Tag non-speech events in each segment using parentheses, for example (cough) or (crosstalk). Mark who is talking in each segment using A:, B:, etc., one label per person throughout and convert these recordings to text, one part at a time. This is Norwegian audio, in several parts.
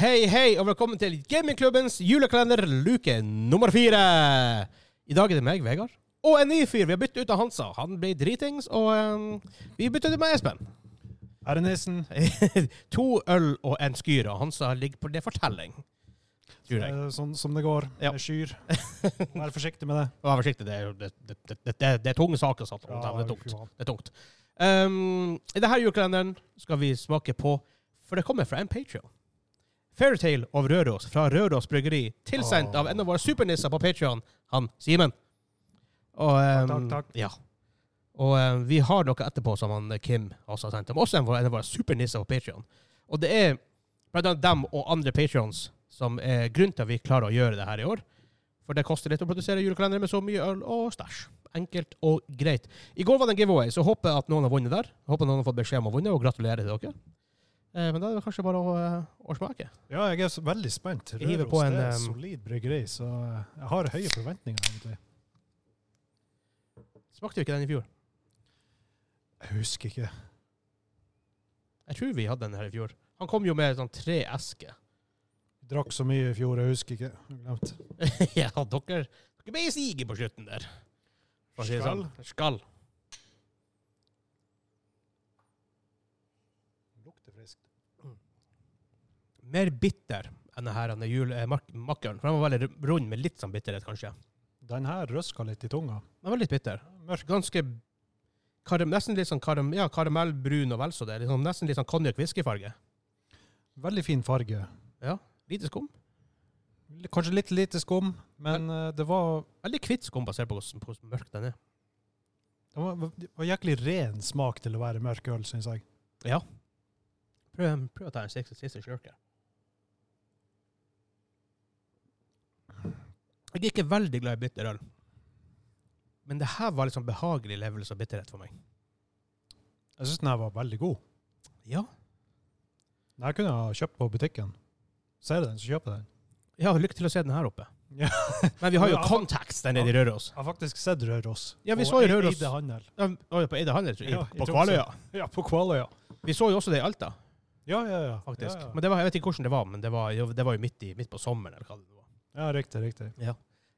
A: Hei, hei, og velkommen til Gamingklubbens julekalender luke nummer fire. I dag er det meg, Vegard, og en ny fyr. Vi har byttet ut av Hansa. Han ble dritings, og eh, vi byttet ut med Espen.
B: Er det nissen?
A: to øl og en skyr, og Hansa ligger på det fortelling. Tror jeg.
B: Eh, Sånn som det går.
A: Ja.
B: Jeg skyr. Vær forsiktig
A: (laughs)
B: med det.
A: Vær forsiktig, det er, jo- det, det, det, det, det, det er tunge saker. Satt, om, det er
B: Ja,
A: tungt.
B: fy faen.
A: Det er tungt. Um, I denne julekalenderen skal vi smake på For det kommer fra en Patrion. Fairytale av Røros fra Røros Bryggeri. Tilsendt av en av våre supernisser på Patrion, han Simen. Og, um,
B: takk, takk.
A: Ja. Og um, vi har noe etterpå som han eh, Kim også har sendt, men også en, vår- en av våre supernisser på Patrion. Og det er blant annet dem og andre Patrions som er grunnen til at vi klarer å gjøre det her i år. For det koster litt å produsere julekalender med så mye øl og stæsj. Enkelt og greit. I går var det en giveaway, så håper jeg at noen har vunnet der. Håper noen har fått beskjed om å ha vunnet, og gratulerer til dere. Eh, men da er det kanskje bare å, eh, å smake.
B: Ja, jeg er så veldig spent.
A: Jeg hiver
B: Røros
A: på en,
B: det er et
A: um,
B: solid bryggeri, så eh, jeg har høye forventninger. egentlig.
A: Smakte jo ikke den i fjor.
B: Jeg husker ikke.
A: Jeg tror vi hadde den her i fjor. Han kom jo med sånn tre esker.
B: Jeg drakk så mye i fjor, jeg husker ikke. Jeg har glemt.
A: (laughs) ja, dere, dere ble i siget på slutten der. For å si det sånn. Skall.
B: Lukter friskt.
A: Mer bitter enn den her denne jule- eh, mak- makkeren. For den var veldig ru- rund med litt sånn bitterhet, kanskje.
B: Den her røska litt i tunga.
A: Den var litt bitter.
B: Mørk.
A: ganske karam, Nesten litt sånn karam, ja, karamellbrun og vel så det. Liksom, nesten litt sånn konjakk-whiskyfarge.
B: Veldig fin farge.
A: Lite skum.
B: Kanskje litt lite skum, men eh, det var,
A: Veldig kvitt skum, basert på hvordan, på hvordan mørk den er.
B: det var, det var jæklig ren smak til å være mørk øl, syns jeg.
A: Prøv, prøv å ta en siste, siste slurk her. Jeg er ikke veldig glad i bitter øl. Men det her var liksom behagelig levelse av bitterhet for meg.
B: Jeg syns den her var veldig god.
A: Ja.
B: Den her kunne jeg ha kjøpt på butikken. Ser du den, så kjøper jeg den.
A: Jeg har lykke til å se den her oppe.
B: Ja.
A: (laughs) Men vi har jo
B: Ja.
A: Contax der nede i Røros.
B: Jeg har faktisk sett Røros.
A: Ja, vi
B: Og
A: så jo
B: i-
A: Røros.
B: i det handel.
A: Ja, på Eide Handel, tror jeg.
B: Ja, i
A: på
B: Tromsø.
A: Kvaløya.
B: Ja, på Kvaløya.
A: Vi så jo også det i Alta.
B: Ja, ja, ja.
A: faktisk.
B: Ja, ja.
A: Men det var, jeg vet ikke hvordan det var, men det var jo, det var jo midt, i, midt på sommeren. eller hva det var.
B: ja, riktig, riktig.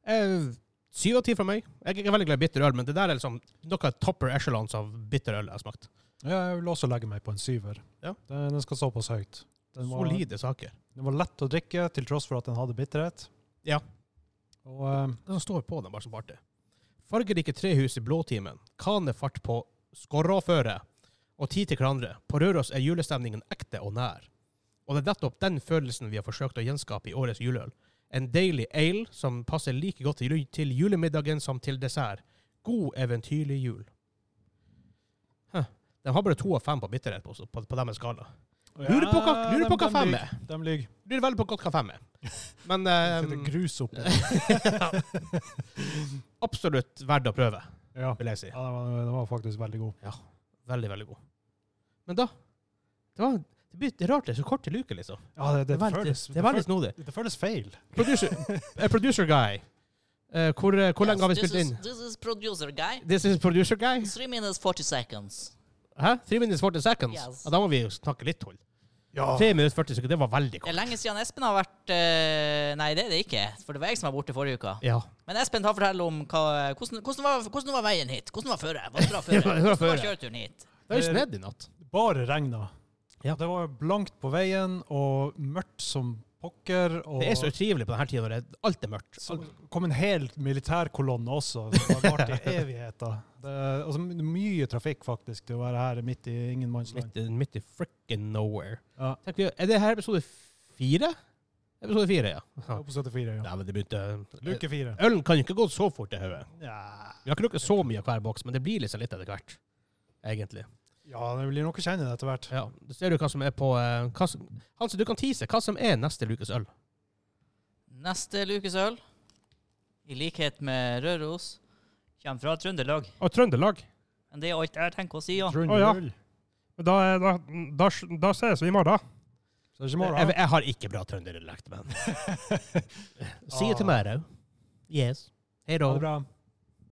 A: Eh, Syv av ti fra meg. Jeg er ikke veldig glad i bitter øl, men det der er liksom noe av topper echelons av bitter øl jeg har smakt.
B: Ja, jeg vil også legge meg på en syver.
A: Ja.
B: Den, den skal såpass høyt. Den var,
A: Solide saker.
B: den var lett å drikke, til tross for at den hadde bitterhet.
A: Ja.
B: Og eh,
A: Det som står på den, bare som party. Fargerike trehus i blåtimen. Kanefart på Skorråføret. Og tid til hverandre. På Røros er julestemningen ekte og nær. Og det er nettopp den følelsen vi har forsøkt å gjenskape i årets juleøl. En deilig ale som passer like godt til, til julemiddagen som til dessert. God, eventyrlig jul. Huh. Den har bare to av fem på bitterhet på, på, på deres skala. Lurer på hva,
B: ja,
A: lurer på
B: dem-
A: hva
B: dem
A: fem
B: lyg-
A: er.
B: dem lyg.
A: Lurer veldig på godt hva fem er. (laughs) Men
B: Det
A: eh,
B: sitter grus (laughs) oppå.
A: (laughs) absolutt verdt å prøve,
B: Ja, ja
A: vil jeg si.
B: den, var, den var faktisk veldig god.
A: Veldig, veldig god. Men da Det, var, det blir det er rart det er så kort til luke, liksom.
B: Ja, det, det,
A: er veldig-
B: føles,
A: det er veldig snodig.
B: føles, det føles feil.
A: Producer, eh, producer guy. Eh, hvor eh, hvor lenge har vi
C: Yes,
A: spilt
C: this
A: inn?
C: Is, this is producer guy.
A: This is producer guy?
C: Three minutes 40 seconds.
A: Hæ? 3 minutes 40 seconds?
C: Yes.
A: Ja, da må vi jo snakke litt tull.
B: Ja.
A: 3 minutter 40 sekunder, det var veldig
C: Det er
A: kort.
C: lenge siden Espen har vært eh, Nei, det er det ikke, for det var jeg som var borte forrige uka.
A: Ja.
C: Men Espen, ta fortell om hva, hvordan, hvordan, var, hvordan var veien hit? Hvordan var føret?
A: (laughs)
C: Var det bra
A: Det
C: føre?
A: var- det var
C: Hvordan var
A: føret.
C: kjøreturen hit?
A: Det
B: Eh,
A: har jo snedd i natt.
B: Bare regna.
A: Ja.
B: Det var blankt på veien og mørkt som pokker. Og
A: Det er så utrivelig på denne tida når det- alt er mørkt.
B: Så
A: Alt.
B: kom en hel militærkolonne også, som har vart i evigheter. Det er altså, mye trafikk, faktisk, til å være her midt i ingenmannsland.
A: Midt, i- midt i frikken nowhere.
B: Ja.
A: Tenk, vi- er det her episode fire? Episode fire,
D: (laughs)
A: ja.
B: Oppe på 74, ja.
A: Nei, men det begynte
B: Luke fire.
A: Ølen kan jo ikke gå så fort til hodet.
B: Ja.
A: Vi har ikke drukket så mye av hver boks, men det blir liksom litt etter hvert. Egentlig.
B: ja, det blir nok å kjenne det etter hvert.
A: Ja, Da ser du hva som er på eh, hva som, Hansen, du kan tease hva som er neste Lukas øl.
C: Neste Lucas Øl, i likhet med Røros, kommer fra Trøndelag.
A: Å, Trøndelag.
C: Men det er alt jeg tenker å si, ja.
B: Trond
D: Å, ja.
B: Null.
D: Da, er- da, da, da ses vi i morgen.
B: Så det er
A: Jeg,
B: ikke morgen.
A: jeg har ikke bra
D: (laughs)
A: trønderdialekt, men See you
B: Ah.
A: tomorrow. Yes. Hei
B: Ha
A: da.
B: det bra.